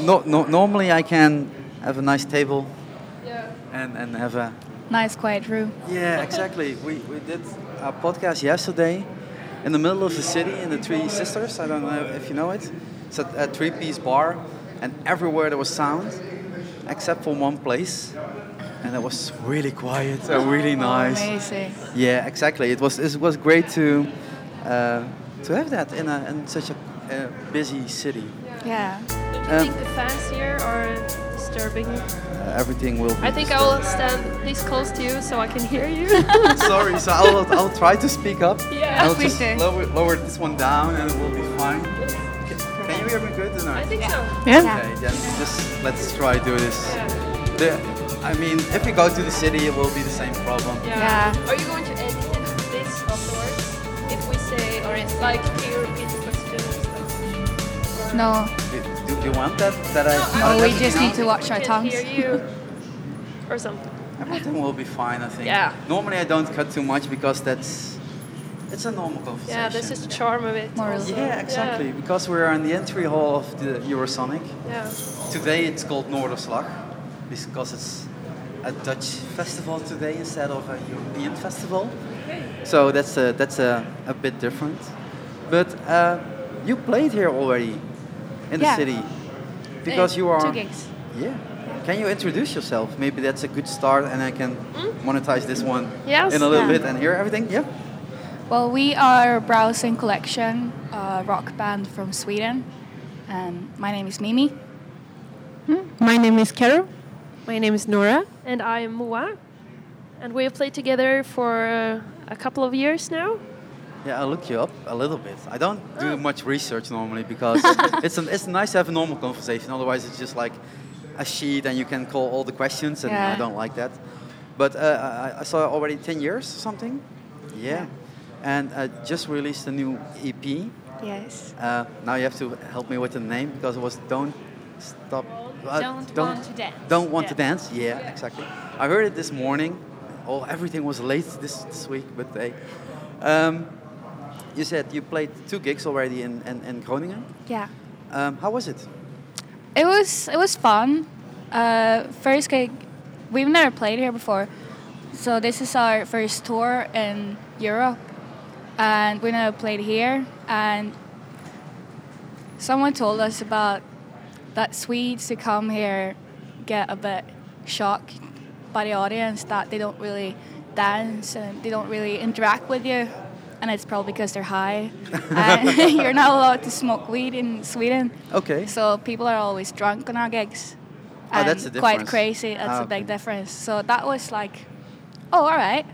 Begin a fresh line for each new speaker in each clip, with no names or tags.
no, no, normally I can have a nice table and, and have a
Nice, quiet room.
yeah exactly we, we did our podcast yesterday in the middle of the city in the three sisters i don't know if you know it it's a, a three piece bar and everywhere there was sound except for one place and it was really quiet and really nice
Amazing.
yeah, exactly. It was it was great to uh, to have that in a in such a uh, busy city.
Yeah.
Don't you
Um,
think the fans here are disturbing?
Uh, everything will. Be
I think I will stand this close to you so I can hear you.
Sorry, so I'll I'll try to speak up.
Yeah,
I'll
please
just
do.
lower lower this one down and it will be fine. Can, can you hear me good or not?
I think so.
Yeah.
Okay, then just let's try do this.
Yeah.
The, I mean, if we go to the city, it will be the same problem.
Yeah.
Are you going to edit this afterwards? If we say, or it's like, can you repeat the question? Or-
No,
Do, do you want that? That I?
No,
Oh,
I
we
don't
just
know.
need to watch our
Can
tongues.
Hear you, or something.
Everything will be fine, I think.
Yeah.
Normally I don't cut too much because that's it's a normal conversation.
Yeah, this is the charm of it.
More
also.
Yeah, exactly. Because we're in the entry hall of the Eurosonic.
Yeah.
Today it's called Noorderslag because it's a Dutch festival today instead of a European festival. So that's a, that's a, a bit different. But uh, you played here already in
Yeah.
the city because
Eh,
you are
two gigs.
Yeah. Can you introduce yourself? Maybe that's a good start, and I can monetize this one
Yes.
in a little
Hmm? Yeah.
bit and hear everything. Yeah.
Well, we are Browsing Collection, a rock band from Sweden. And my name is Mimi.
My name is Carol. My name is Nora.
And I am Moa, and we have played together for uh, a couple of years now.
Yeah, I'll look you up a little bit. I don't do much research normally because it's, an, it's nice to have a normal conversation. Otherwise, it's just like a sheet and you can call all the questions, and I
Yeah.
don't like that. But uh, I, I saw already 10 years or something. Yeah. And I just released a new E EP.
Yes.
Uh, now you have to help me with the name because it was Don't Stop. uh,
Don't Want to Dance.
Don't Want to
Yeah.
Dance. Yeah, exactly. I heard it this morning. Oh, everything was late this, this week, but they. Um, you said you played two gigs already in, in, in Groningen.
Yeah.
Um, how was it?
It was it was fun. Uh, first gig, we've never played here before, so this is our first tour in Europe, and we never played here. And someone told us about that Swedes who come here get a bit shocked by the audience that they don't really dance and they don't really interact with you, and it's probably because they're high. and you're not allowed to smoke weed in Sweden.
Okay.
So people are always drunk on our gigs.
Oh,
and
that's the
Quite
difference.
crazy. That's
Ah,
a big
okay.
difference. So that was like, oh, all right.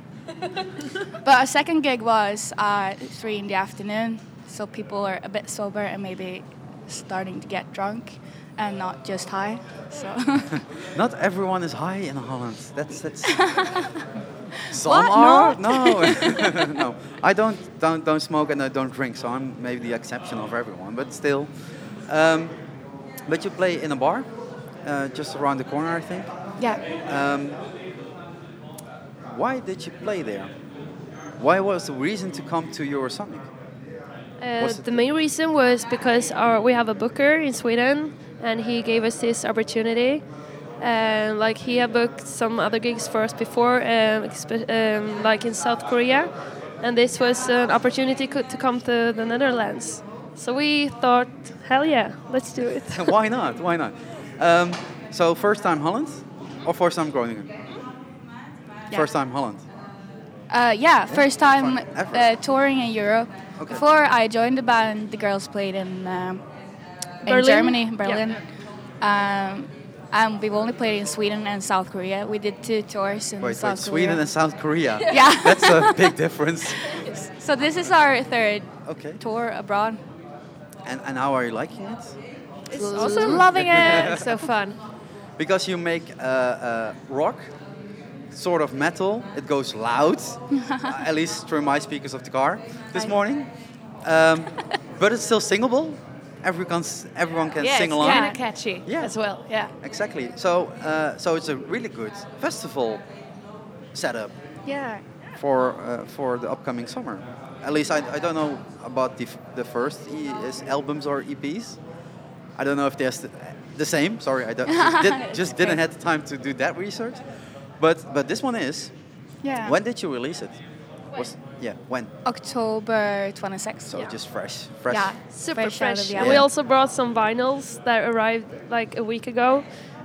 but our second gig was at three in the afternoon, so people are a bit sober and maybe starting to get drunk and not just high. So
Not everyone is high in Holland. That's that's. Some
What?
are. No, no. I don't don't don't smoke and I don't drink, so I'm maybe the exception of everyone. But still, um, but you play in a bar, uh, just around the corner, I think.
yeah,
Um, why did you play there? Why was the reason to come to Eurosonic?
Uh,
Was it-
the main reason was because our, we have a booker in Sweden, and he gave us this opportunity. And like he had booked some other gigs for us before, um, expe- um, like in South Korea, and this was an opportunity co- to come to the Netherlands. So we thought, hell yeah, let's do it.
why not? Why not? Um, so first time Holland or first time Groningen? First time Holland.
uh, yeah. First time
Fun. Ever.
uh, touring in Europe.
Okay.
Before I joined the band, the girls played in um, in
Berlin?
Germany,
Yeah.
Berlin. Um, and we've only played in Sweden and South Korea. We did two tours in
Wait,
South
wait, Sweden
Korea.
and South Korea.
Yeah.
That's a big difference.
so this is our third
Okay.
tour abroad.
And, and how are you liking it?
It's awesome.
Loving
Yeah,
it.
it's so fun.
Because you make uh, uh, rock, sort of metal. It goes loud, uh, at least through my speakers of the car this
I-
morning. Um, but it's still singable. Everyone can, s- everyone can
Yeah,
sing
it's
along.
kind of catchy
Yeah.
as well. Yeah.
Exactly. So, uh, so it's a really good festival setup
yeah.
for uh, for the upcoming summer. At least E I, I don't know about the, f- the first e- is albums or EPs. I don't know if they're st- the same. Sorry, I don't, did, just didn't have the time to do that research. But but this one is.
Yeah.
When did you release it? Was yeah when?
October 26th.
So
Yeah.
just fresh, fresh.
Yeah,
super fresh.
out of the
Yeah.
We
oven.
also brought some vinyls that arrived like a week ago.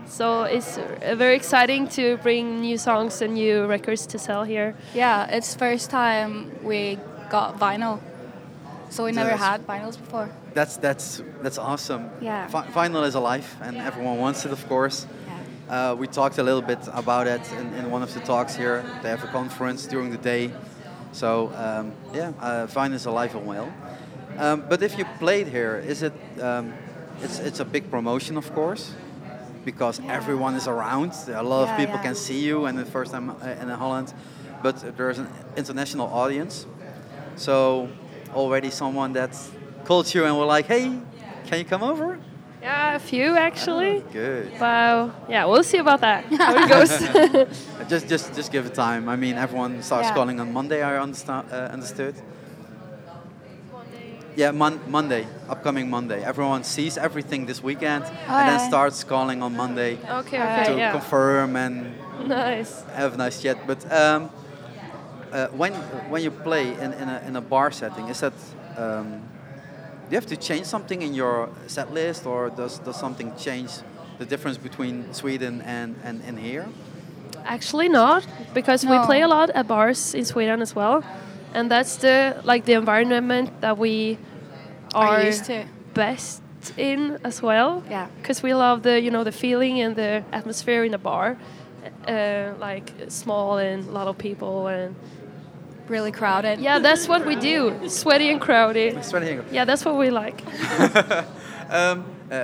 So it's uh, very exciting to bring new songs and new records to sell here.
Yeah, it's first time we got vinyl. So we
So
never
that's-
had vinyls before.
That's that's that's awesome.
Yeah.
Vi- vinyl is alive, and everyone wants it, of course.
Yeah.
Uh, we talked a little bit about it in, in one of the talks here. They have a conference during the day. So, um, yeah, uh, Vine is alive and well. Um, but if you played here, is it, um, it's, it's a big promotion, of course, because everyone is around. A lot of
Yeah,
people
yeah.
can see you, and the first time uh, in Holland. But there's an international audience. So, already someone that called you and were like, hey, can you come over?
Yeah, a few actually.
Good.
Wow. Yeah, we'll see about that. How it goes.
Just, just, just give it time. I mean, everyone starts
Yeah.
calling on Monday. I understand, uh, understood. Yeah, mon- Monday, upcoming Monday. Everyone sees everything this weekend and then
yeah.
starts calling on Monday
okay.
to
Okay. Oh, Uh, Yeah.
confirm and
Nice.
have nice chat. But um, uh, when when you play in, in, a, in a bar setting, is that um, do you have to change something in your set list, or does does something change the difference between Sweden and and, and here?
Actually, not because we
No.
play a lot at bars in Sweden as well, and that's the like the environment that we
Are
are
used to.
best in as well.
Yeah.
because we love the you know the feeling and the atmosphere in a bar, uh, like small and a lot of people and
Really crowded.
yeah, that's what we do. Sweaty and crowded.
Sven Hingo.
Yeah, that's what we like.
Um, uh,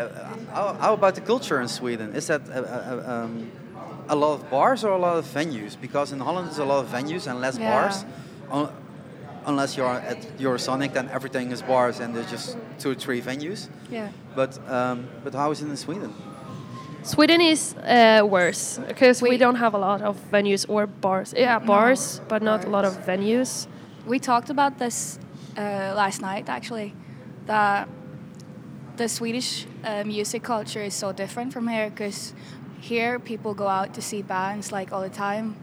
how, how about the culture in Sweden? Is that uh, uh, uh, um, a lot of bars or a lot of venues? Because in Holland, there's a lot of venues and less
Yeah.
bars. Un- unless you're at Eurosonic, then everything is bars and there's just two or three venues.
Yeah.
But um, but how is it in Sweden?
Sweden is uh, worse because we,
We-
don't have a lot of venues or bars. Yeah, bars, but not a lot of venues.
We talked about this uh, last night actually, that the Swedish uh, music culture is so different from here because here people go out to see bands like all the time.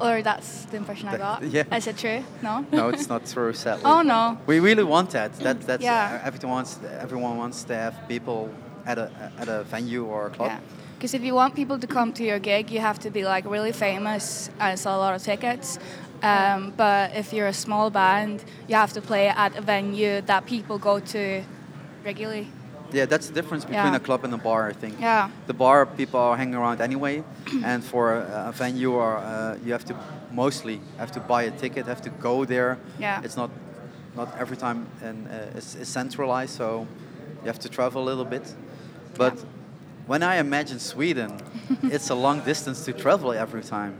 Or that's the impression I
That-
got.
yeah.
Is it true? No?
No, it's not true, sadly.
Oh no.
We really want that. that that's
Yeah.
uh, everyone wants everyone wants to have people at a at a venue or a club.
Yeah. Because if you want people to come to your gig, you have to be like really famous and sell a lot of tickets. Um, but if you're a small band, you have to play at a venue that people go to regularly.
Yeah, that's the difference between
Yeah.
a club and a bar, I think.
Yeah.
The bar people are hanging around anyway, and for a a venue, or uh, you have to mostly have to buy a ticket, have to go there.
Yeah.
It's not not every time, and uh, it's, it's centralized, so you have to travel a little bit. But when I imagine Sweden, it's a long distance to travel every time.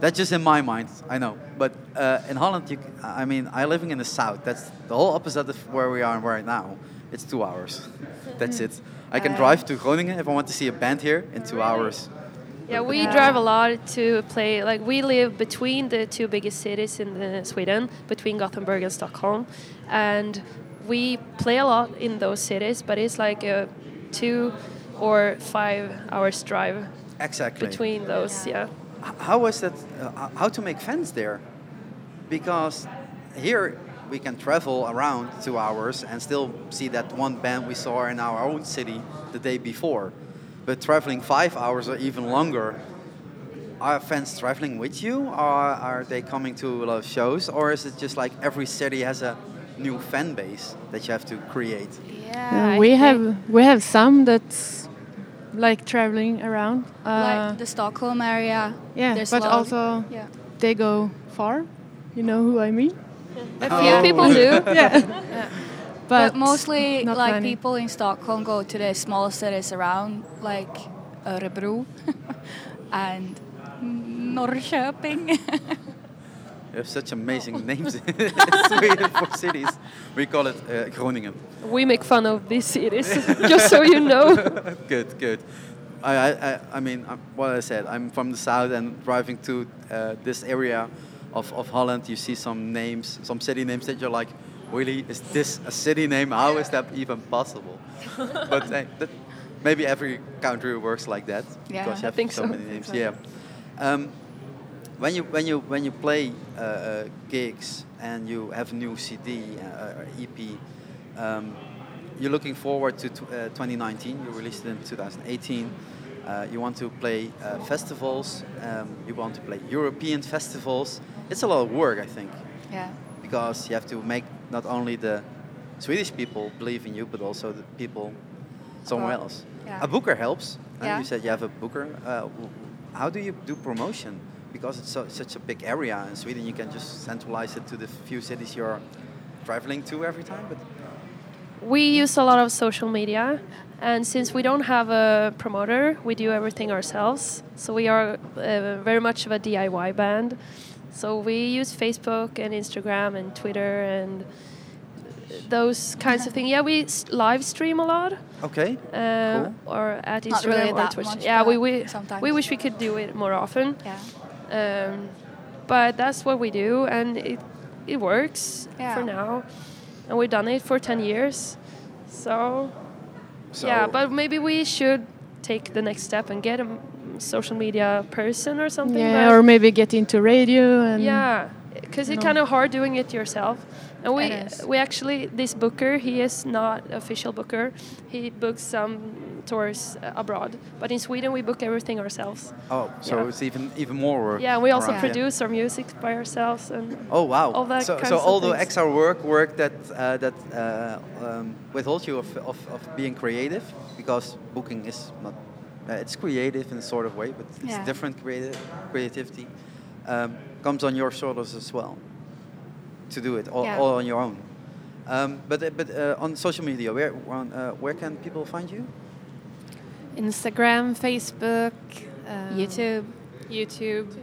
That's just in my mind. I know, but uh, in Holland, you, c- I mean, I living in the south. That's the whole opposite of where we are right now. It's two hours. That's it. I can
Uh,
drive to Groningen if I want to see a band here in two hours.
Yeah, we
Yeah.
drive a lot to play. Like we live between the two biggest cities in the Sweden, between Gothenburg and Stockholm, and we play a lot in those cities. But it's like a two or five hours drive
Exactly.
between those. Yeah,
H- how was that? Uh, how to make fans there? Because here we can travel around two hours and still see that one band we saw in our own city the day before. But traveling five hours or even longer, are fans traveling with you? Or are they coming to a lot of shows? Or is it just like every city has a new fan base that you have to create?
Yeah.
we have we have some that's like traveling around. Uh,
like the Stockholm area.
yeah,
there's
but
a lot of-
also
yeah.
they go far. You know who I mean?
a
Oh.
few people do.
yeah. But,
But, mostly
not
like
many.
people in Stockholm go to the small cities around like Örebro and Norrköping.
You have such amazing names in Sweden for cities. We call it uh, Groningen.
We make fun of these cities, just so you know.
good, good. I, I, I- I mean, I'm, what I said, I'm from the south and driving to uh, this area of, of Holland, you see some names, some city names that you're like, really, is this a city name? How is that even possible? but hey, that, maybe every country works like that
Yeah.
because you
I
have
think
so,
so.
many names. Yeah. Um, when you when you when you play uh, uh, gigs and you have new CD uh, uh, or EP, um, you're looking forward to tw uh, 2019. You released it in 2018. Uh, you want to play uh, festivals. Um, you want to play European festivals. It's a lot of work, I think,
Yeah.
because you have to make not only the Swedish people believe in you, but also the people somewhere
Abroad.
else.
Yeah.
A booker helps. Uh,
Yeah.
You said you have a booker. Uh, w- how do you do promotion? Because it's so, such a big area in Sweden, you can just centralize it to the few cities you're traveling to every time. But
We use a lot of social media, and since we don't have a promoter, we do everything ourselves. So we are uh, very much of a DIY band. So we use Facebook and Instagram and Twitter and those kinds of things. Yeah, we s- live stream a lot.
okay,
Uh,
Cool.
Or at Instagram
Not really
or
that
Twitch.
much,
yeah, we
but
we,
sometimes.
we wish we could do it more often.
Yeah.
Um, but that's what we do, and it it works
Yeah.
for now, and we've done it for ten years. So,
so
yeah, but maybe we should take the next step and get a m- social media person or something.
Yeah,
but-
or maybe get into radio and
yeah, because it's
No.
kind of hard doing it yourself. And we
It is.
we actually this booker he is not official booker. He books some tours uh, abroad, but in Sweden we book everything ourselves.
oh, so
yeah.
it's even even more work.
Yeah, we also
around.
produce our music by ourselves and
Oh wow!
all that
so
kinds
so
of
all the
things.
extra work work that uh, that uh, um, withholds you of, of, of being creative because booking is not uh, it's creative in a sort of way, but it's
Yeah.
different creative creativity um, comes on your shoulders as well to do it all,
Yeah.
all on your own. Um, but uh, but uh, on social media, where on, uh, where can people find you?
Instagram, Facebook, um,
YouTube.
YouTube,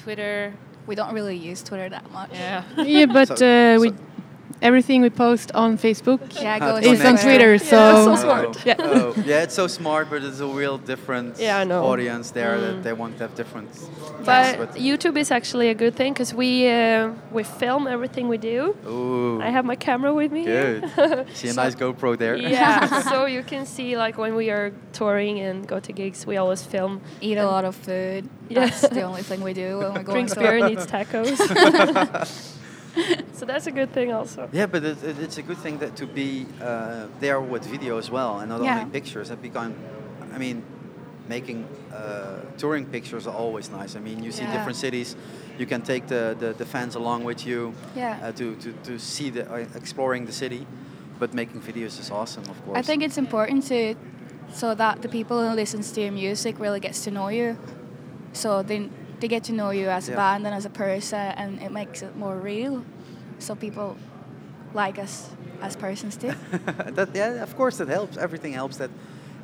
Twitter.
We don't really use Twitter that much.
Yeah.
Yeah, but
So-
uh,
so-
we everything we post on Facebook
Yeah,
Uh,
go
it's
is
on
on Twitter.
Yeah,
so
so
Oh,
smart.
Yeah.
oh, yeah, it's so smart, but it's a real different
Yeah, I know.
audience there that they want to have different.
Mm. But
but-
YouTube is actually a good thing because we uh, we film everything we do.
Ooh.
I have my camera with me. here.
Good. See a nice GoPro there.
yeah, so you can see like when we are touring and go to gigs, we always film.
Eat a lot of food.
Yeah.
That's the only thing we do when we go
Drinks
to
beer and eats tacos. so that's a good thing also.
Yeah, but it, it, it's a good thing that to be uh, there with video as well, and not
Yeah.
only pictures. That become, I mean, making uh, touring pictures are always nice. I mean, you see
Yeah.
different cities, you can take the, the, the fans along with you
Yeah.
uh, to, to, to see the uh, exploring the city, but making videos is awesome, of course.
I think it's important to so that the people who listens to your music really gets to know you. So they they get to know you as a
Yeah.
band and as a person and it makes it more real. So people like us as persons too.
Uh, that yeah, of course that helps. Everything helps that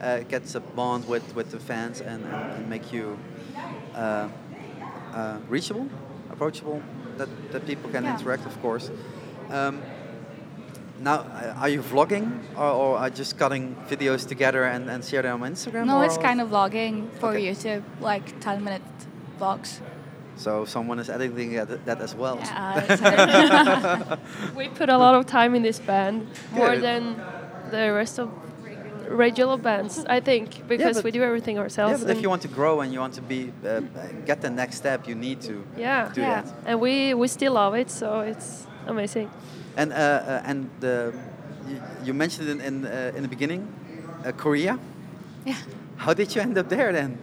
uh, gets a bond with, with the fans and, and, and make you uh, uh, reachable, approachable. That that people can
Yeah.
interact, of course. Um, now, uh, are you vlogging or, or are you just cutting videos together and, and share them on Instagram?
no,
or-
it's kind of vlogging for
Okay.
YouTube, like ten minute vlogs.
So someone is editing that, that as well.
Yeah, it's hard.
We put a lot of time in this band, more
Good.
than the rest of regular bands, I think, because
but-
we do everything
Yeah,
ourselves.
but if
and-
you want to grow and you want to be uh, get the next step, you need to
yeah,
do
Yeah.
that.
and we we still love it, so it's amazing.
And uh, uh, and the, you, you mentioned in in, uh, in the beginning, uh, Korea.
Yeah.
How did you end up there then?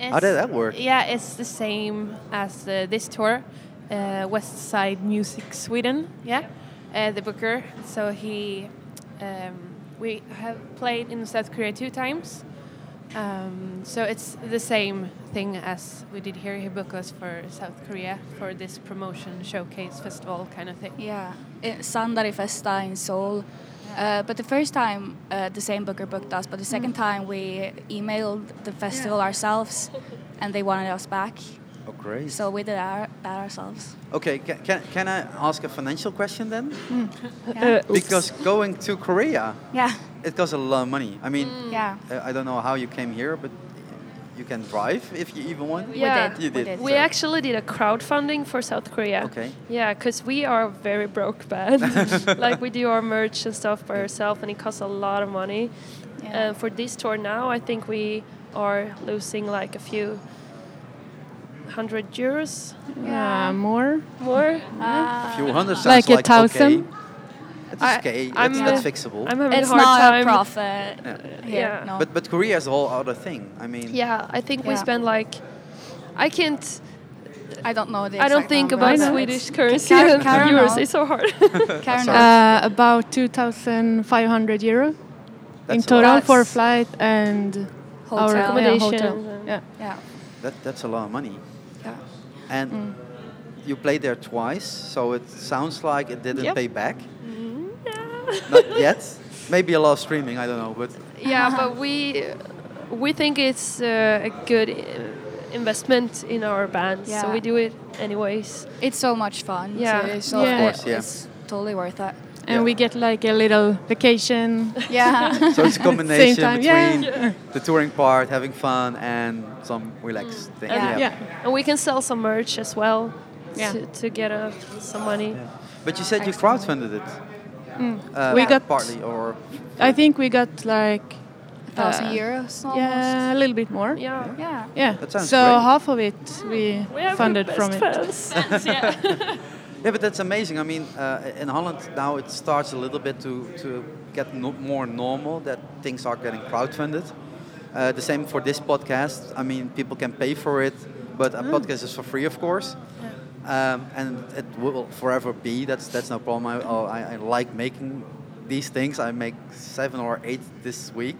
How did that work?
Yeah, it's the same as uh, this tour, uh, West Side Music Sweden. Yeah, uh, the booker. So he, um, we have played in South Korea two times. Um, so it's the same thing as we did here. He booked us for South Korea for this promotion showcase festival kind of thing.
Yeah, in Sandari Festa in Seoul. Uh, but the first time, uh, the same booker booked us. But the second time, we emailed the festival ourselves, and they wanted us back.
Oh, great.
So we did our, that ourselves.
okay, can, can, can I ask a financial question then?
Uh,
Yeah,
Because going to Korea,
yeah,
it costs a lot of money. I mean,
Mm.
yeah.
uh, I don't know how you came here, but you can drive if you even want.
Yeah.
did.
You did.
did.
We
so-
actually did a crowdfunding for South Korea.
Okay.
Yeah, because we are very broke bad. like we do our merch and stuff by ourselves, and it costs a lot of money.
Yeah.
And for this tour now, I think we are losing like a few hundred euros Um,
Uh, more.
more.
Uh,
A few hundred sounds
Like a
like okay.
thousand?
It's
I-
okay. It's,
I'm-
that's fixable.
I'm having
it's
a hard
not
time. Uh,
a profit
Yeah.
here.
Yeah.
No.
But but Korea is a whole other thing. I mean,
Yeah, I think we
Yeah.
spend like. I can't.
I don't know the
I don't
exact
think
number,
about
but
Swedish
it's-
currency
Karen-
and
Karen
euros.
knows.
It's so hard.
Karen
Sorry.
knows.
Uh, about 2,500 euro in
that's a
total
lot.
for flight and our
Hotel.
yeah,
Uh, Accommodation.
hotel. Yeah.
yeah.
That, that's a lot of money.
Yeah.
And you played there twice, so it sounds like it didn't
Yep.
pay back. Not yet. Maybe a lot of streaming. I don't know, but
yeah, but we we think it's uh, a good uh, investment in our band, so
Yeah.
we do it anyways.
It's so much fun.
Yeah.
Too, so
Of
course, yeah.
It's totally worth it.
And
Yeah.
we get like a little vacation.
Yeah.
so it's a combination
time, yeah.
between the touring part, having fun, and some relaxed thing.
Yeah.
Mm. yeah.
And we can sell some merch as well
Yeah.
to, to get uh, some money.
Yeah. But you said you
Excellent.
crowdfunded it. Uh,
Mm. We got-
partly or
I think we got like
A thousand
Uh,
euros almost.
yeah, a little bit more.
Yeah.
Yeah.
Yeah.
That sounds
so
great.
half of it we,
We have
funded
the
from
best
it.
fans. yeah.
Yeah, but that's amazing. I mean, uh, in Holland now it starts a little bit to, to get no, more normal that things are getting crowdfunded. Uh, the same for this podcast. I mean, people can pay for it, but a podcast is for free, of course. Um, and it will forever be. That's that's no problem. I, oh, I, I like making these things. I make seven or eight this week.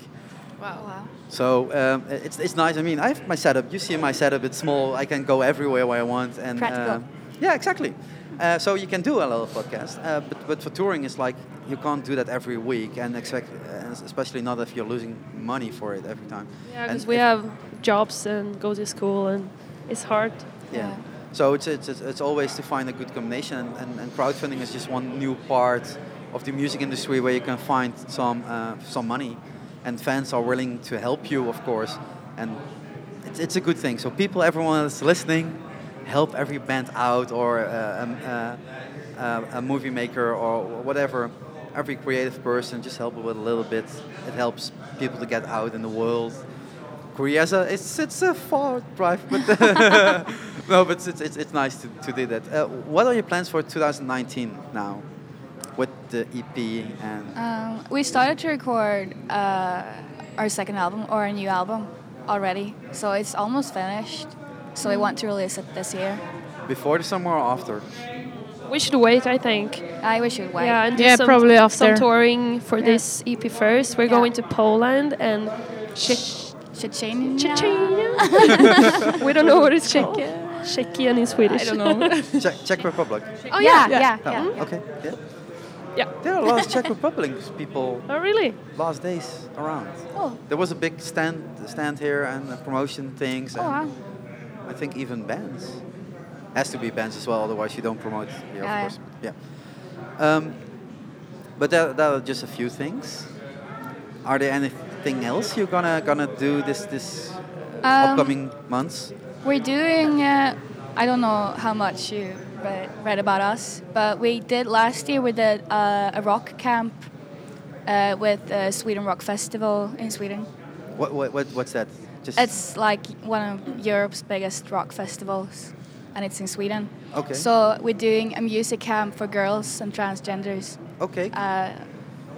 Wow.
So um, it's, it's nice. I mean, I have my setup. You see my setup. It's small. I can go everywhere where I want. And
Practical.
uh, yeah, exactly. Uh, so you can do a lot of podcasts, uh, but, but for touring, it's like you can't do that every week, and expect, uh, especially not if you're losing money for it every time.
Yeah,
And
because we
if-
have jobs and go to school, and it's hard.
Yeah.
Yeah.
So it's, it's, it's, it's always to find a good combination, and, and, and crowdfunding is just one new part of the music industry where you can find some, uh, some money, and fans are willing to help you, of course, and it's, it's a good thing. So people, everyone that's listening, help every band out or uh, um, uh, uh, a movie maker or whatever. Every creative person, just help with a little bit. It helps people to get out in the world. Korea is a, it's, it's a far drive, but no, but it's, it's, it's nice to, to do that. Uh, what are your plans for 2019 now with the EP and
Um, we started to record uh, our second album or a new album already, so it's almost finished. So we want to release it this year.
before the summer or after?
We should wait, I think.
I wish you'd wait.
Yeah, and do
Yeah,
some,
probably
some
after.
touring for this EP first. We're
Yeah.
going to Poland and Czech-
Cha-ching.
Czechia. we don't know what it's called. Czechia in Swedish.
I don't know.
Czech, Czech Republic.
Oh yeah,
Yeah.
yeah, yeah.
Oh, Okay. Yeah.
Yeah.
There are a lot of Czech Republic people
oh, really?
last days around.
Oh.
There was a big stand stand here and uh, promotion things.
Oh
and
wow.
I think even bands. Has to be bands as well, otherwise you don't promote here,
Oh, Yeah, yeah.
of course. Yeah. Um, but that, that are just a few things. Are there anything else you're gonna gonna do this this
Um,
upcoming months?
We're doing. Uh, I don't know how much you read, read about us, but we did last year. We did uh, a rock camp uh, with the Sweden Rock Festival in Sweden.
What, what, what what's that? Just
It's like one of Europe's biggest rock festivals, and it's in Sweden.
Okay.
So we're doing a music camp for girls and transgenders
okay.
uh,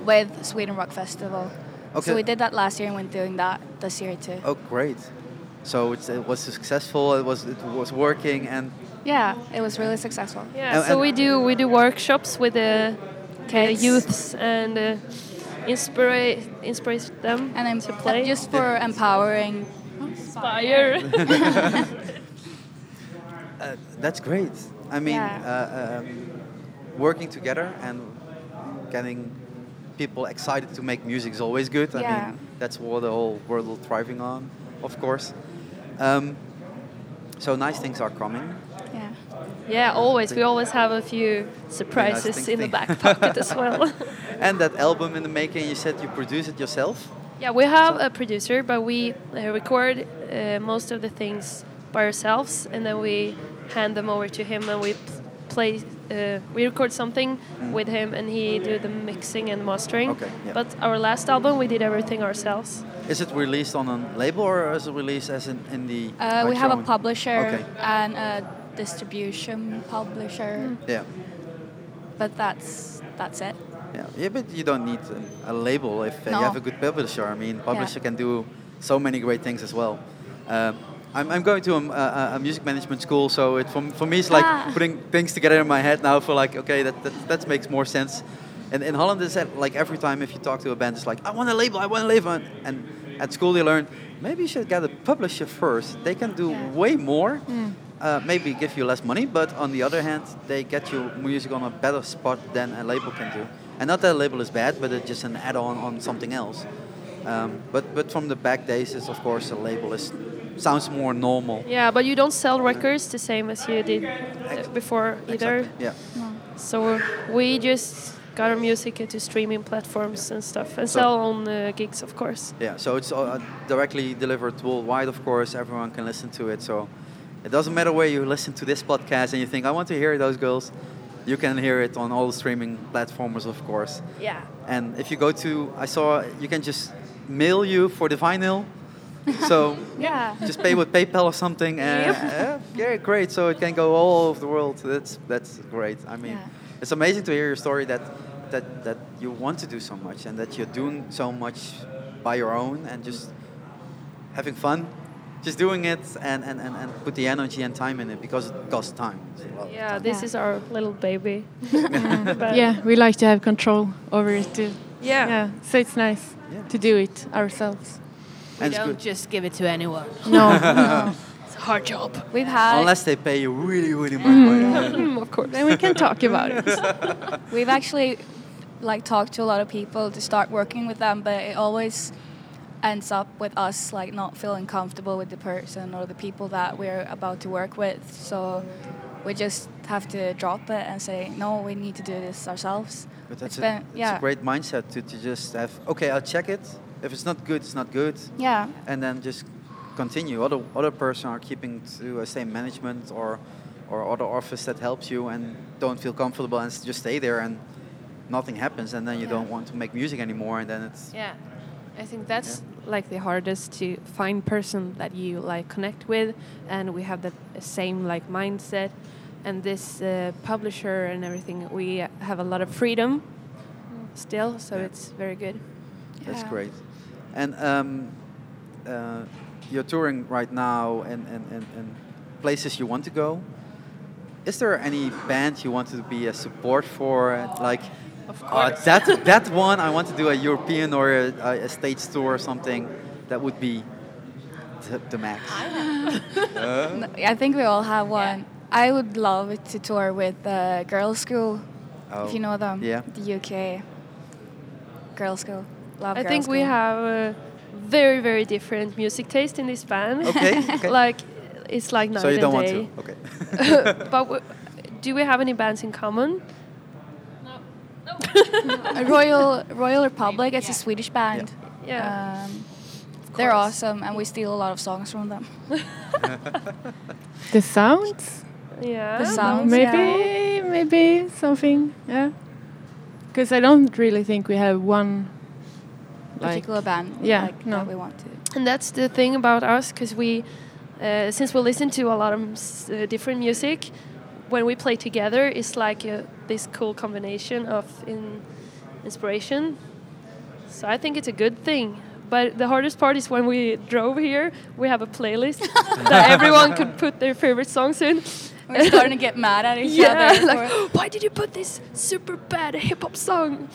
with Sweden Rock Festival.
Okay.
So we did that last year, and we're doing that this year too.
oh, great. So it's, it was successful. It was it was working, and
Yeah, it was really successful.
Yeah.
And-
so
and-
we do we do workshops with uh, the the
Kids.
youths and uh, inspire inspire them
And I'm uh,
to play.
just for empowering.
inspire.
uh, that's great. I mean,
Yeah.
uh, um, working together and getting people excited to make music is always good. I
Yeah.
mean, that's what the whole world is thriving on, of course. Um, so nice things are coming.
Yeah.
yeah, always. We always have a few surprises
things
in the
think.
back pocket as well.
And that album in the making, you said you produce it yourself.
Yeah, we have a producer, but we uh, record uh, most of the things by ourselves, and then we hand them over to him, and we p- play. Uh, we record something with him, and he do the mixing and mastering.
Mm. Okay, yeah.
But our last album, we did everything ourselves.
Is it released on a label or is it released as in, in the?
Uh, we
like
have
your
a
own-
publisher
Okay.
and a distribution
Hmm.
publisher,
Yeah,
but that's that's it.
yeah, yeah. But you don't need a, a label if uh,
No.
you have a good publisher. I mean, publisher can do so many great things as well. Um, I'm, I'm going to a, a, a music management school, so it for, for me it's like
Ah.
putting things together in my head now. For like, okay, that that, that makes more sense. And in Holland, it's that, like every time if you talk to a band, it's like, I want a label, I want a label. And, and at school, they learned maybe you should get a publisher first. They can do
Yeah.
way more. Uh, maybe give you less money, but on the other hand, they get your music on a better spot than a label can do. And not that a label is bad, but it's just an add-on on something else. Um, but but from the back days, is of course a label is sounds more normal.
Yeah, but you don't sell records the same as you did uh, before either.
Exactly. Yeah.
So we just got our music into streaming platforms and stuff, and
So-
sell on uh, gigs, of course.
Yeah, so it's uh, directly delivered worldwide, of course. Everyone can listen to it. So it doesn't matter where you listen to this podcast and you think, I want to hear those girls. You can hear it on all streaming platforms, of course.
Yeah.
And if you go to, I saw you can just mail you for the vinyl. So
Yeah.
just pay with PayPal or something. And yeah, yeah, great. So it can go all over the world. That's that's great. I mean,
Yeah.
it's amazing to hear your story that that that you want to do so much and that you're doing so much by your own and just having fun, just doing it and and, and, and put the energy and time in it because it costs time. It's a lot of
Yeah,
time.
this
Yeah.
is our little baby. But-
Yeah, we like to have control over it too.
Yeah.
Yeah, so it's nice
Yeah.
to do it ourselves.
We
And it's
don't
good.
just give it to anyone.
No,
It's a hard job.
We've had
Unless they pay you really, really much.
Mm, of course. Then we can talk about it.
we've actually like talked to a lot of people to start working with them, but it always ends up with us like not feeling comfortable with the person or the people that we're about to work with. So we just have to drop it and say, no, we need to do this ourselves.
But that's
It's
a,
been-
it's
yeah,
a great mindset to, to just have, okay, I'll check it. If it's not good, it's not good.
yeah,
And then just continue. Other, other person are keeping to the same management or, or other office that helps you and don't feel comfortable and s- just stay there and nothing happens. And then you
Yeah.
don't want to make music anymore. And then it's,
Yeah, I think that's like the hardest to find person that you like connect with, and we have the same like mindset. And this uh, publisher and everything, we have a lot of freedom still, so
Yeah.
it's very good.
that's
Yeah.
great. And um, uh, you're touring right now and, and, and, and places you want to go. Is there any band you want to be a support for? Like,
Of
Uh, that that one I want to do a European or a, a, a States tour or something. That would be the, the max. Uh,
No, I think we all have one. I would love to tour with uh, Girls School,
Oh,
if you know them.
Yeah.
The UK. Girls School. Love
I
Girls
think we
School.
have uh, very, very different music taste in this band.
Okay, okay.
like, it's like night
so you
and
don't want
day.
to. Okay.
but w- do we have any bands in common?
A Royal Royal Republic. It's a Swedish band.
Yeah.
Um, they're
course.
awesome, and we steal a lot of songs from them.
the sounds.
yeah.
the
no.
sounds,
Maybe, maybe something. Yeah, because I don't really think we have one. Like,
Particular band.
yeah,
like,
no.
that we want to.
And that's the thing about us, because we, uh, since we listen to a lot of s- uh, different music, when we play together, it's like uh this cool combination of in, inspiration. So I think it's a good thing. But the hardest part is when we drove here, we have a playlist that everyone could put their favorite songs in.
We're starting to get mad at each
Yeah,
other.
like,
for,
why did you put this super bad hip hop song?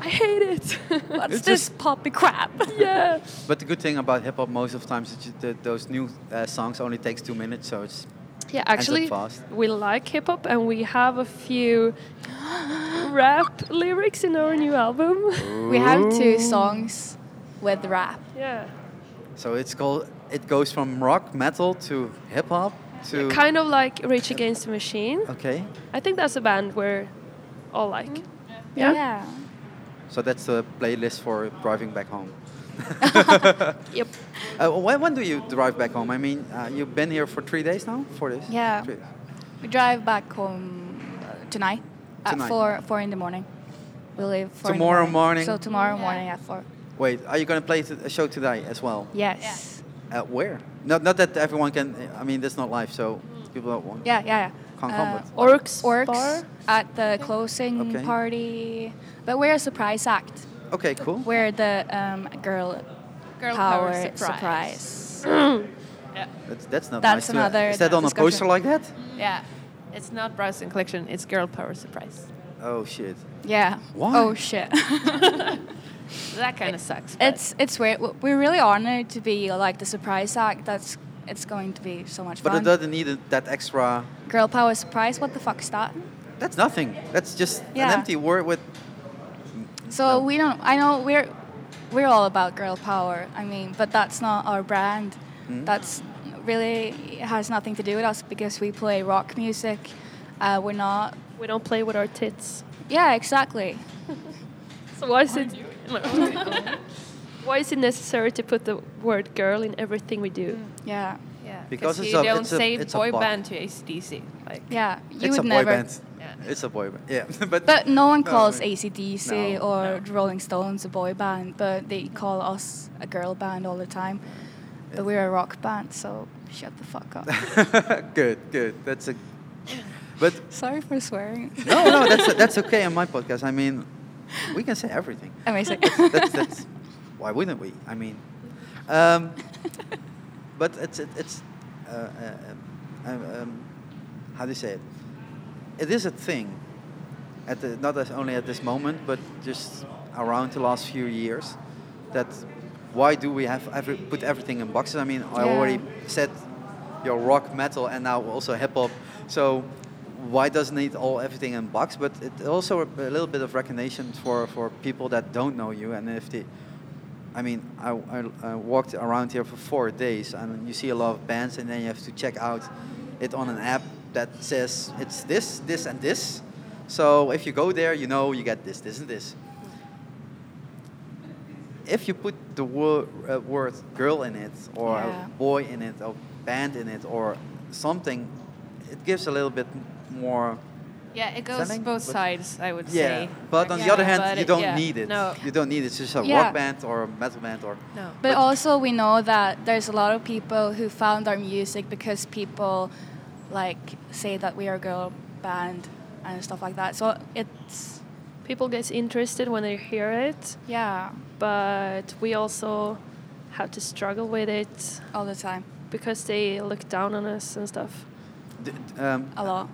I hate it.
What's
It's
this poppy crap?
yeah.
but the good thing about hip hop, most of the times, it's ju- the, those new uh, songs only takes two minutes, so it's
Yeah, actually,
fast.
we like hip hop and we have a few rap lyrics in our new album.
we have two songs with rap.
yeah.
so it's called. It goes from rock metal to hip hop to
Kind of like Rage Against the Machine.
okay.
I think that's a band we're all like.
yeah,
yeah.
So that's the playlist for driving back home.
Yep.
Uh, when, when do you drive back home? I mean, uh, you've been here for three days now? Four days?
Yeah.
Three-
We drive back home uh, tonight,
Tonight.
at four four in the morning. We leave four in the
Tomorrow morning?
So tomorrow
Yeah.
morning at four.
Wait, are you going to play t- a show today as well?
Yes.
Uh, where? Not, not that everyone can, I mean, that's not live, so
Mm.
people don't want.
Yeah, yeah, yeah.
Can't come with-
Orcs.
Orcs
Bar.
at the closing
Okay.
party, but we're a surprise act.
Okay, cool.
We're the um, girl,
Girl
power,
power,
surprise.
That's, that's not nice.
That's
to-
another uh,
Is that on a
discussion.
poster like that?
Yeah. It's not browsing collection, it's girl power surprise.
Oh, shit.
Yeah.
Why?
Oh shit.
That kind of sucks. but-
it's it's weird. W- We're really honored to be like the surprise act. That's it's going to be so much
But it
fun.
doesn't need a- that extra.
Girl power surprise. What the fuck's that?
That's nothing. That's just
Yeah.
an empty word with.
So
No.
we don't. I know we're we're all about girl power. I mean, but that's not our brand.
Hmm?
That's really has nothing to do with us because we play rock music. Uh, we're not.
We don't play with our tits.
Yeah, exactly.
So why is it? why is it necessary to put the word "girl" in everything we do?
Yeah,
Yeah,
Because
because
it's
you
a-
don't
it's a-
say
it's a
boy
bug.
band to ACDC. Like,
yeah. You
it's
would
a boy
never.
band.
Yeah.
It's a boy band. Yeah, but.
But no one
No,
calls
we-
ACDC
No.
or the Rolling Stones a boy band, but they call us a girl band all the time. But we're a rock band, so shut the fuck up.
good, good. That's a. But
Sorry for swearing.
no, no, that's that's okay on my podcast. I mean, we can say everything.
Amazing.
That's, that's why wouldn't we? I mean, um, but it's it, it's uh, uh, um, um, how do you say it? It is a thing. At the, not as only at this moment, but just around the last few years, that why do we have every, put everything in boxes? I mean, I
Yeah.
already said your rock, metal, and now also hip hop. So why doesn't it all everything in box? But it also a little bit of recognition for, for people that don't know you. And if they, I mean, I, I, I walked around here for four days, and you see a lot of bands, and then you have to check out it on an app that says it's this, this, and this. So if you go there, you know you get this, this, and this if you put the word, uh, word girl in it or
Yeah.
boy in it or band in it or something it gives a little bit m- more
yeah, it goes
Selling,
both
but-
sides, I would
yeah
say.
but on the
Yeah,
other hand
but
you don't
yeah,
need it
No,
you don't need it it's just a
Yeah.
rock band or a metal band or
no.
But also, we know that there's a lot of people who found our music because people like say that we are a girl band and stuff like that. So it's
People get interested when they hear it,
yeah,
but we also have to struggle with it
all the time,
because they look down on us and stuff.
D- um,
a lot.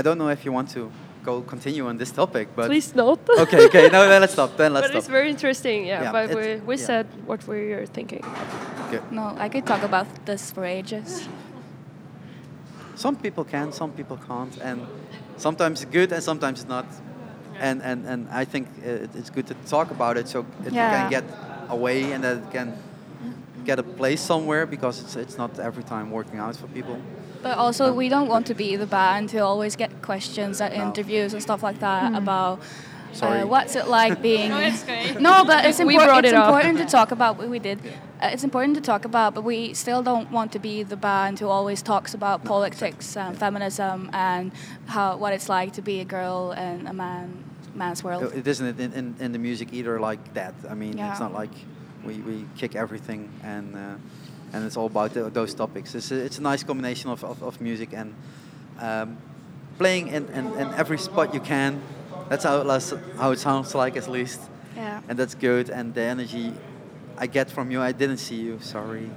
i don't know if you want to go continue on this topic but
Please not.
okay okay no then let's stop then let's
but it's
stop
very interesting. Yeah,
Yeah,
but we
it's-
we
yeah.
said what we were thinking.
Okay.
No, I could talk about this for ages.
some people can some people can't and sometimes it's good and sometimes it's not and and and i think uh, it, it's good to talk about it so it
Yeah.
can get away and that it can get a place somewhere because it's it's not every time working out for people
But also, we don't want to be the band who always get questions at
No.
interviews and stuff like that
Hmm.
about
Sorry.
uh, what's it like being.
No, it's great.
No, but it's,
We
impor-
brought
it's
it up.
important to talk about what we did. Uh, it's important to talk about, but we still don't want to be the band who always talks about politics and feminism and how what it's like to be a girl in a man man's world.
it isn't in, in, in the music either like that i mean
Yeah.
it's not like we, we kick everything and uh, and it's all about tho- those topics it's a, it's a nice combination of, of, of music and um, playing in, in, in every spot you can that's how it, las- how it sounds like at least
yeah,
and that's good and the energy i get from you i didn't see you sorry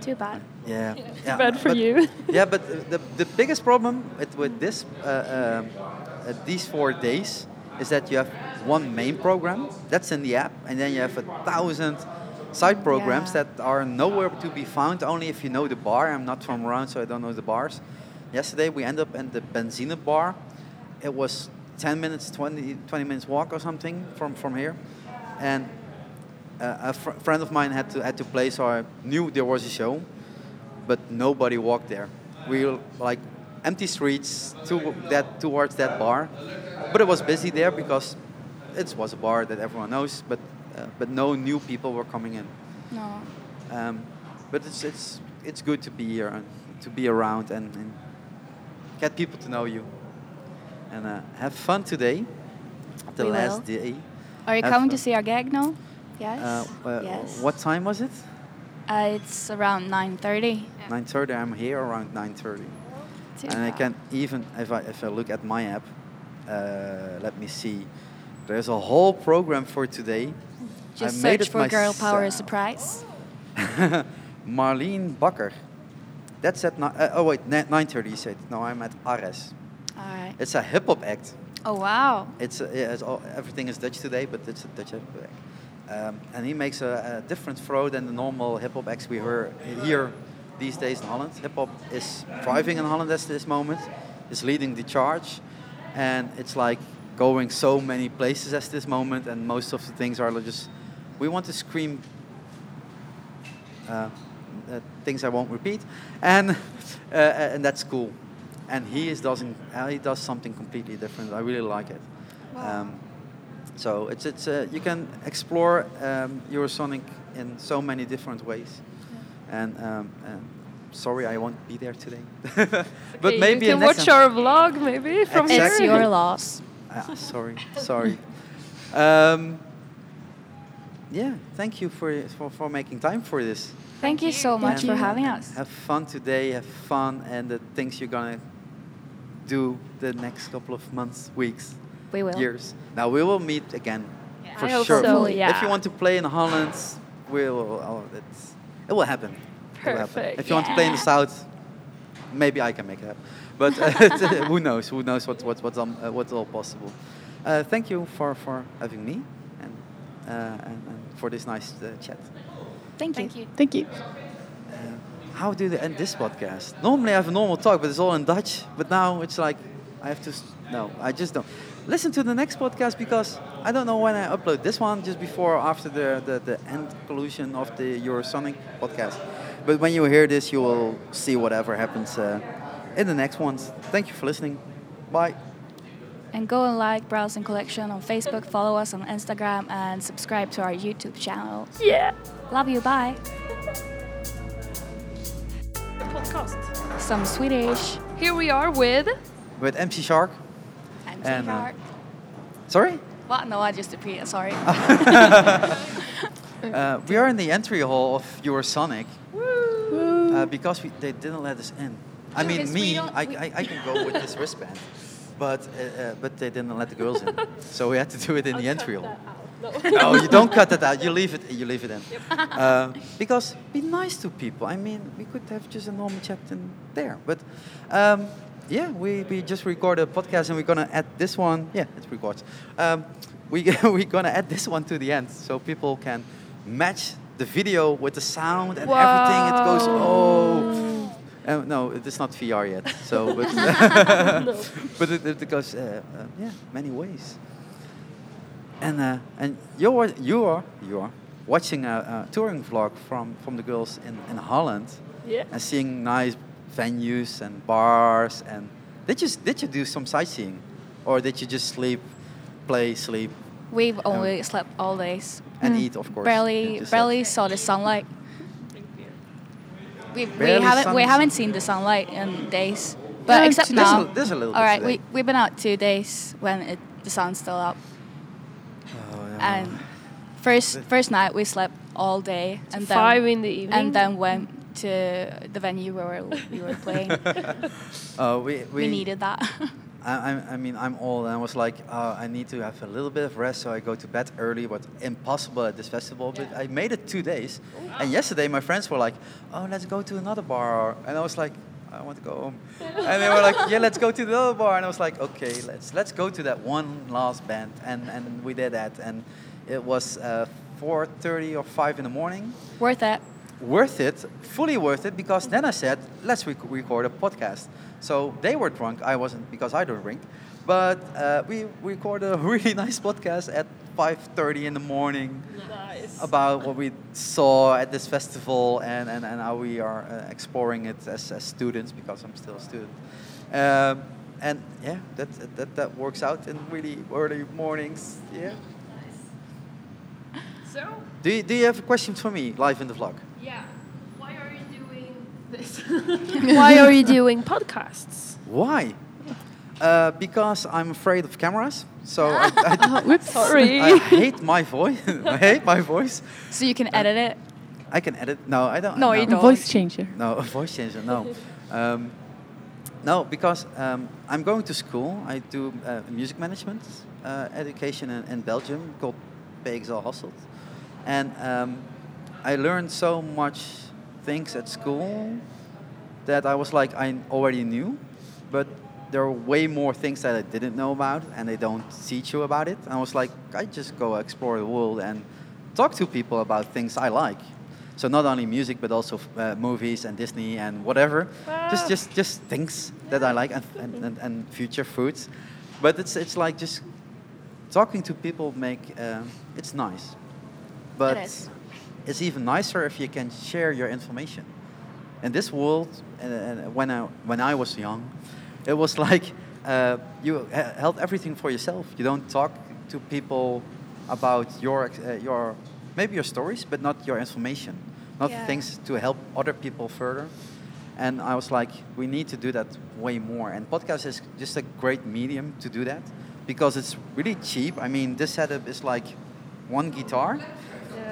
too bad.
yeah, yeah.
bad for
but-
you.
yeah, but uh, the, the biggest problem with, with this uh, um, uh, these four days is that you have one main program that's in the app, and then you have a thousand side programs
Yeah.
that are nowhere to be found. Only if you know the bar. I'm not from around, so I don't know the bars. Yesterday we ended up at the Benzina bar. It was 10 minutes, 20, 20 minutes walk or something from from here, and uh, a fr- friend of mine had to had to play, so I knew there was a show, but nobody walked there. We were like empty streets to that towards that bar, but it was busy there because it was a bar that everyone knows, but uh, but no new people were coming in.
No.
Um, but it's it's it's good to be here and to be around and, and get people to know you. And uh, have fun today, the
We
last
will.
day.
Are you
Have
coming
fun.
to see our gag now? Yes.
Uh, uh,
yes.
What time was it?
Uh, it's around 9:30.
Nine thirty. I'm here around nine thirty, and I can even if I if I look at my app, uh, let me see. There's a whole program for today.
Just
I made
search
it
for "Girl Power
myself.
Surprise."
Marlene Bakker. That's at ni- uh, oh wait ni- 9:30 you said. No, I'm at Ares.
All right.
It's a hip hop act.
Oh wow.
It's, a, yeah, it's all, everything is Dutch today, but it's a Dutch hip hop act. Um, and he makes a, a different throw than the normal hip hop acts we hear here these days in Holland. Hip hop is thriving in Holland at this moment. It's leading the charge, and it's like going so many places at this moment. And most of the things are just we want to scream uh, uh, things I won't repeat, and uh, and that's cool. And he is doesn't uh, he does something completely different. I really like it. Um, so it's it's uh, you can explore um, Eurosonic in so many different ways. And, um, and sorry, I won't be there today, but
Okay,
maybe
you can
in next
watch
time-
our vlog maybe from
It's
Exactly.
here.
your loss.
Ah, sorry, sorry. Um, yeah, thank you for, for for making time for this.
Thank you so much
And
for having us.
Have fun today. Have fun and the things you're gonna do the next couple of months, weeks,
We will.
years. Now we will meet again for
I hope
sure.
so,
If
yeah.
you want to play in Holland, we'll. Oh, it's, it will happen. It will happen.
Perfect.
If you want to play in the south, maybe I can make it happen. But uh, who knows? Who knows what what what's um, uh, what's all possible? Uh, thank you for for having me and uh, and, and for this nice uh, chat.
Thank you.
Thank you.
Thank you.
How do they end this podcast? Normally I have a normal talk, but it's all in Dutch. But now it's like I have to. s- No, I just don't. Listen to the next podcast because I don't know when I upload this one, just before or after the, the, the end collusion of the Eurosonic podcast. But when you hear this, you will see whatever happens uh, in the next ones. Thank you for listening. Bye.
And go and like Browsing Collection on Facebook, follow us on Instagram, and subscribe to our YouTube channel.
Yeah.
Love you, bye.
Podcast.
Some Swedish.
Here we are with
With MC Shark.
And,
And, uh,
Denmark.
Sorry?
What? No, I just appeared. Sorry.
Uh, we are in the entry hall of Eurosonic uh, because we, they didn't let us in. I
No,
mean,
'cause we
me,
don't-
I,
we-
I, I can go with this wristband, but uh, uh, but they didn't let the girls in, so we had to do it in the entry hall. No, you don't cut that out. You leave it. You leave it in. Uh, because be nice to people. I mean, we could have just a normal chat in there. But um, yeah, we, we just recorded a podcast and we're gonna add this one. Yeah, it records. Um, we we're gonna add this one to the end so people can match the video with the sound and everything. It goes oh. Uh, no, it is not VR yet. So, but, but it, it goes uh, uh, yeah, many ways. And uh, and you are you are you are watching a, a touring vlog from from the girls in in Holland
Yeah.
and seeing nice venues and bars and did you s- did you do some sightseeing or did you just sleep, play, sleep
We've only slept all days.
Um, and eat of course?
Mm,
uh,
Barely,
you said.
barely saw the sunlight. We, we
Barely
haven't we
sun-
haven't seen the sunlight in days, but
Yeah,
except
there's a-
now.
there's a little
All
bit
right,
today.
we we've been out two days when it, the sun's still up,
Oh, yeah.
and first first night we slept all day, and then
five in the evening.
and then went to the venue where we were playing.
Uh, we, we
we needed that.
I, I, I mean, I'm old, and I was like, uh, I need to have a little bit of rest, so I go to bed early, but impossible at this festival. But I made it two days, and yesterday my friends were like, oh, let's go to another bar, and I was like, I want to go home, and they were like, yeah, let's go to the other bar, and I was like, okay, let's let's go to that one last band, and and we did that, and it was uh, 4:30 or 5 in the morning
Worth it.
worth it, fully worth it, because then I said, let's rec- record a podcast. So they were drunk, I wasn't because I don't drink, but uh, we recorded a really nice podcast at 5.30 in the morning about what we saw at this festival and, and, and how we are uh, exploring it as, as students, because I'm still a student. Um, and yeah, that, that, that works out in really early mornings, yeah.
so.
Do you, do you have questions for me live in the vlog?
Yeah. Why are you doing this? Why are you doing podcasts?
Why? Uh, because I'm afraid of cameras. So I, I,
Oh, whoops.
Sorry.
I hate my voice. I hate my voice.
So you
Uh,
can edit it.
I can edit. No, I don't.
No, you don't.
Voice changer.
No, a voice changer. No, um, no, because um, I'm going to school. I do uh, music management uh, education in, in Belgium called PXL Hasselt, and um, I learned so much things at school that I was like I already knew, but there are way more things that I didn't know about, and they don't teach you about it. And I was like, I just go explore the world and talk to people about things I like. So not only music, but also uh, movies and Disney and whatever. Just, just, just things that I like and, and, and, and future foods. But it's it's like just talking to people make uh, it's nice. But
is.
it's even nicer if you can share your information. In this world, uh, uh, when I when I was young, it was like uh, you h- held everything for yourself. You don't talk to people about your ex- uh, your maybe your stories, but not your information, not
Yeah.
things to help other people further. And I was like, we need to do that way more. And podcast is just a great medium to do that because it's really cheap. I mean, this setup is like one guitar.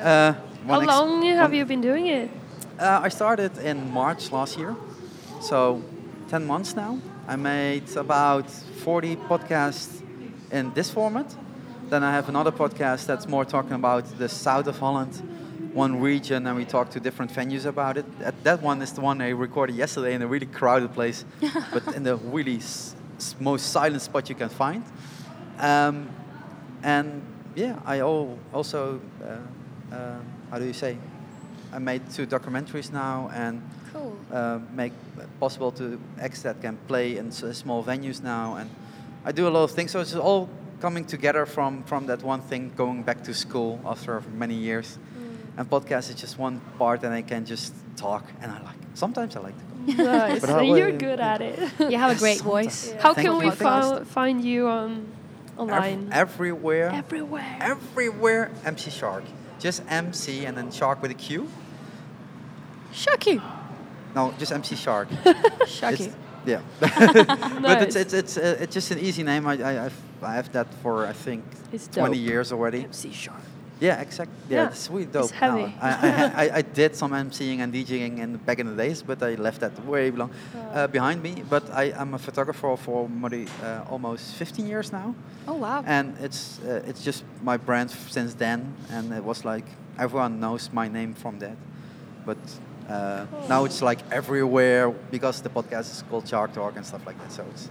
Uh,
How
one ex-
long have
one-
you been doing it?
uh, I started in March last year, so 10 months now. I made about 40 podcasts in this format. Then I have another podcast that's more talking about the south of Holland, one region, and we talk to different venues about it. That, that one is the one I recorded yesterday in a really crowded place, but in the really s- s- most silent spot you can find. Um, and yeah, I al- also, uh, uh, how do you say? I made two documentaries now and
Cool.
uh, make possible to acts that can play in s- small venues now. And I do a lot of things. So it's all coming together from, from that one thing going back to school after many years. And podcast is just one part, and I can just talk. And I like, sometimes I like to go.
Nice.
But how-
You're good at it.
You have a great voice.
Sometimes.
How
Thank
can
you.
we fo- find you on
Ev-
online?
everywhere.
Everywhere.
everywhere MC Shark. Just MC and then Shark with a Q.
Shocky.
No, just MC Shark.
Shocky.
It's- yeah. But it's it's it's, uh, it's just an easy name. I I I've, I have that for I think
It's
20
dope.
years already.
MC Sharp.
Yeah, exactly. Yeah,
Yeah,
it's really
it's
dope. now.
heavy.
I, I, ha- I I did some MCing and DJing in back in the days, but I left that way long uh, behind me. But I am a photographer for modi- uh, almost 15 years now.
Oh wow.
And it's uh, it's just my brand f- since then, and it was like everyone knows my name from that. But uh, now it's like everywhere because the podcast is called Shark Talk and stuff like that. So it's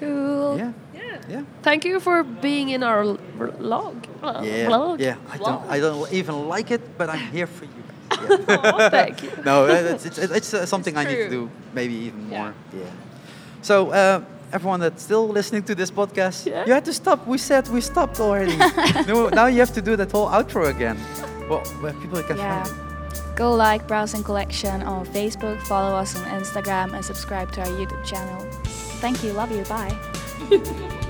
Cool.
yeah,
Yeah.
yeah,
Thank you for being in our l- vlog. Uh,
yeah,
Vlog.
yeah. I don't I don't even like it, but I'm here for you. guys. Yeah.
Aw, Oh, thank you.
no, it's, it's, it's uh, something I need to
true.
do maybe even
Yeah.
more. Yeah. So uh, everyone that's still listening to this podcast,
Yeah.
you had to stop. We said we stopped already. no, now you have to do that whole outro again. Well, where people can
Yeah.
find it.
Go like Browsing Collection on Facebook, follow us on Instagram, and subscribe to our YouTube channel. Thank you, love you, bye.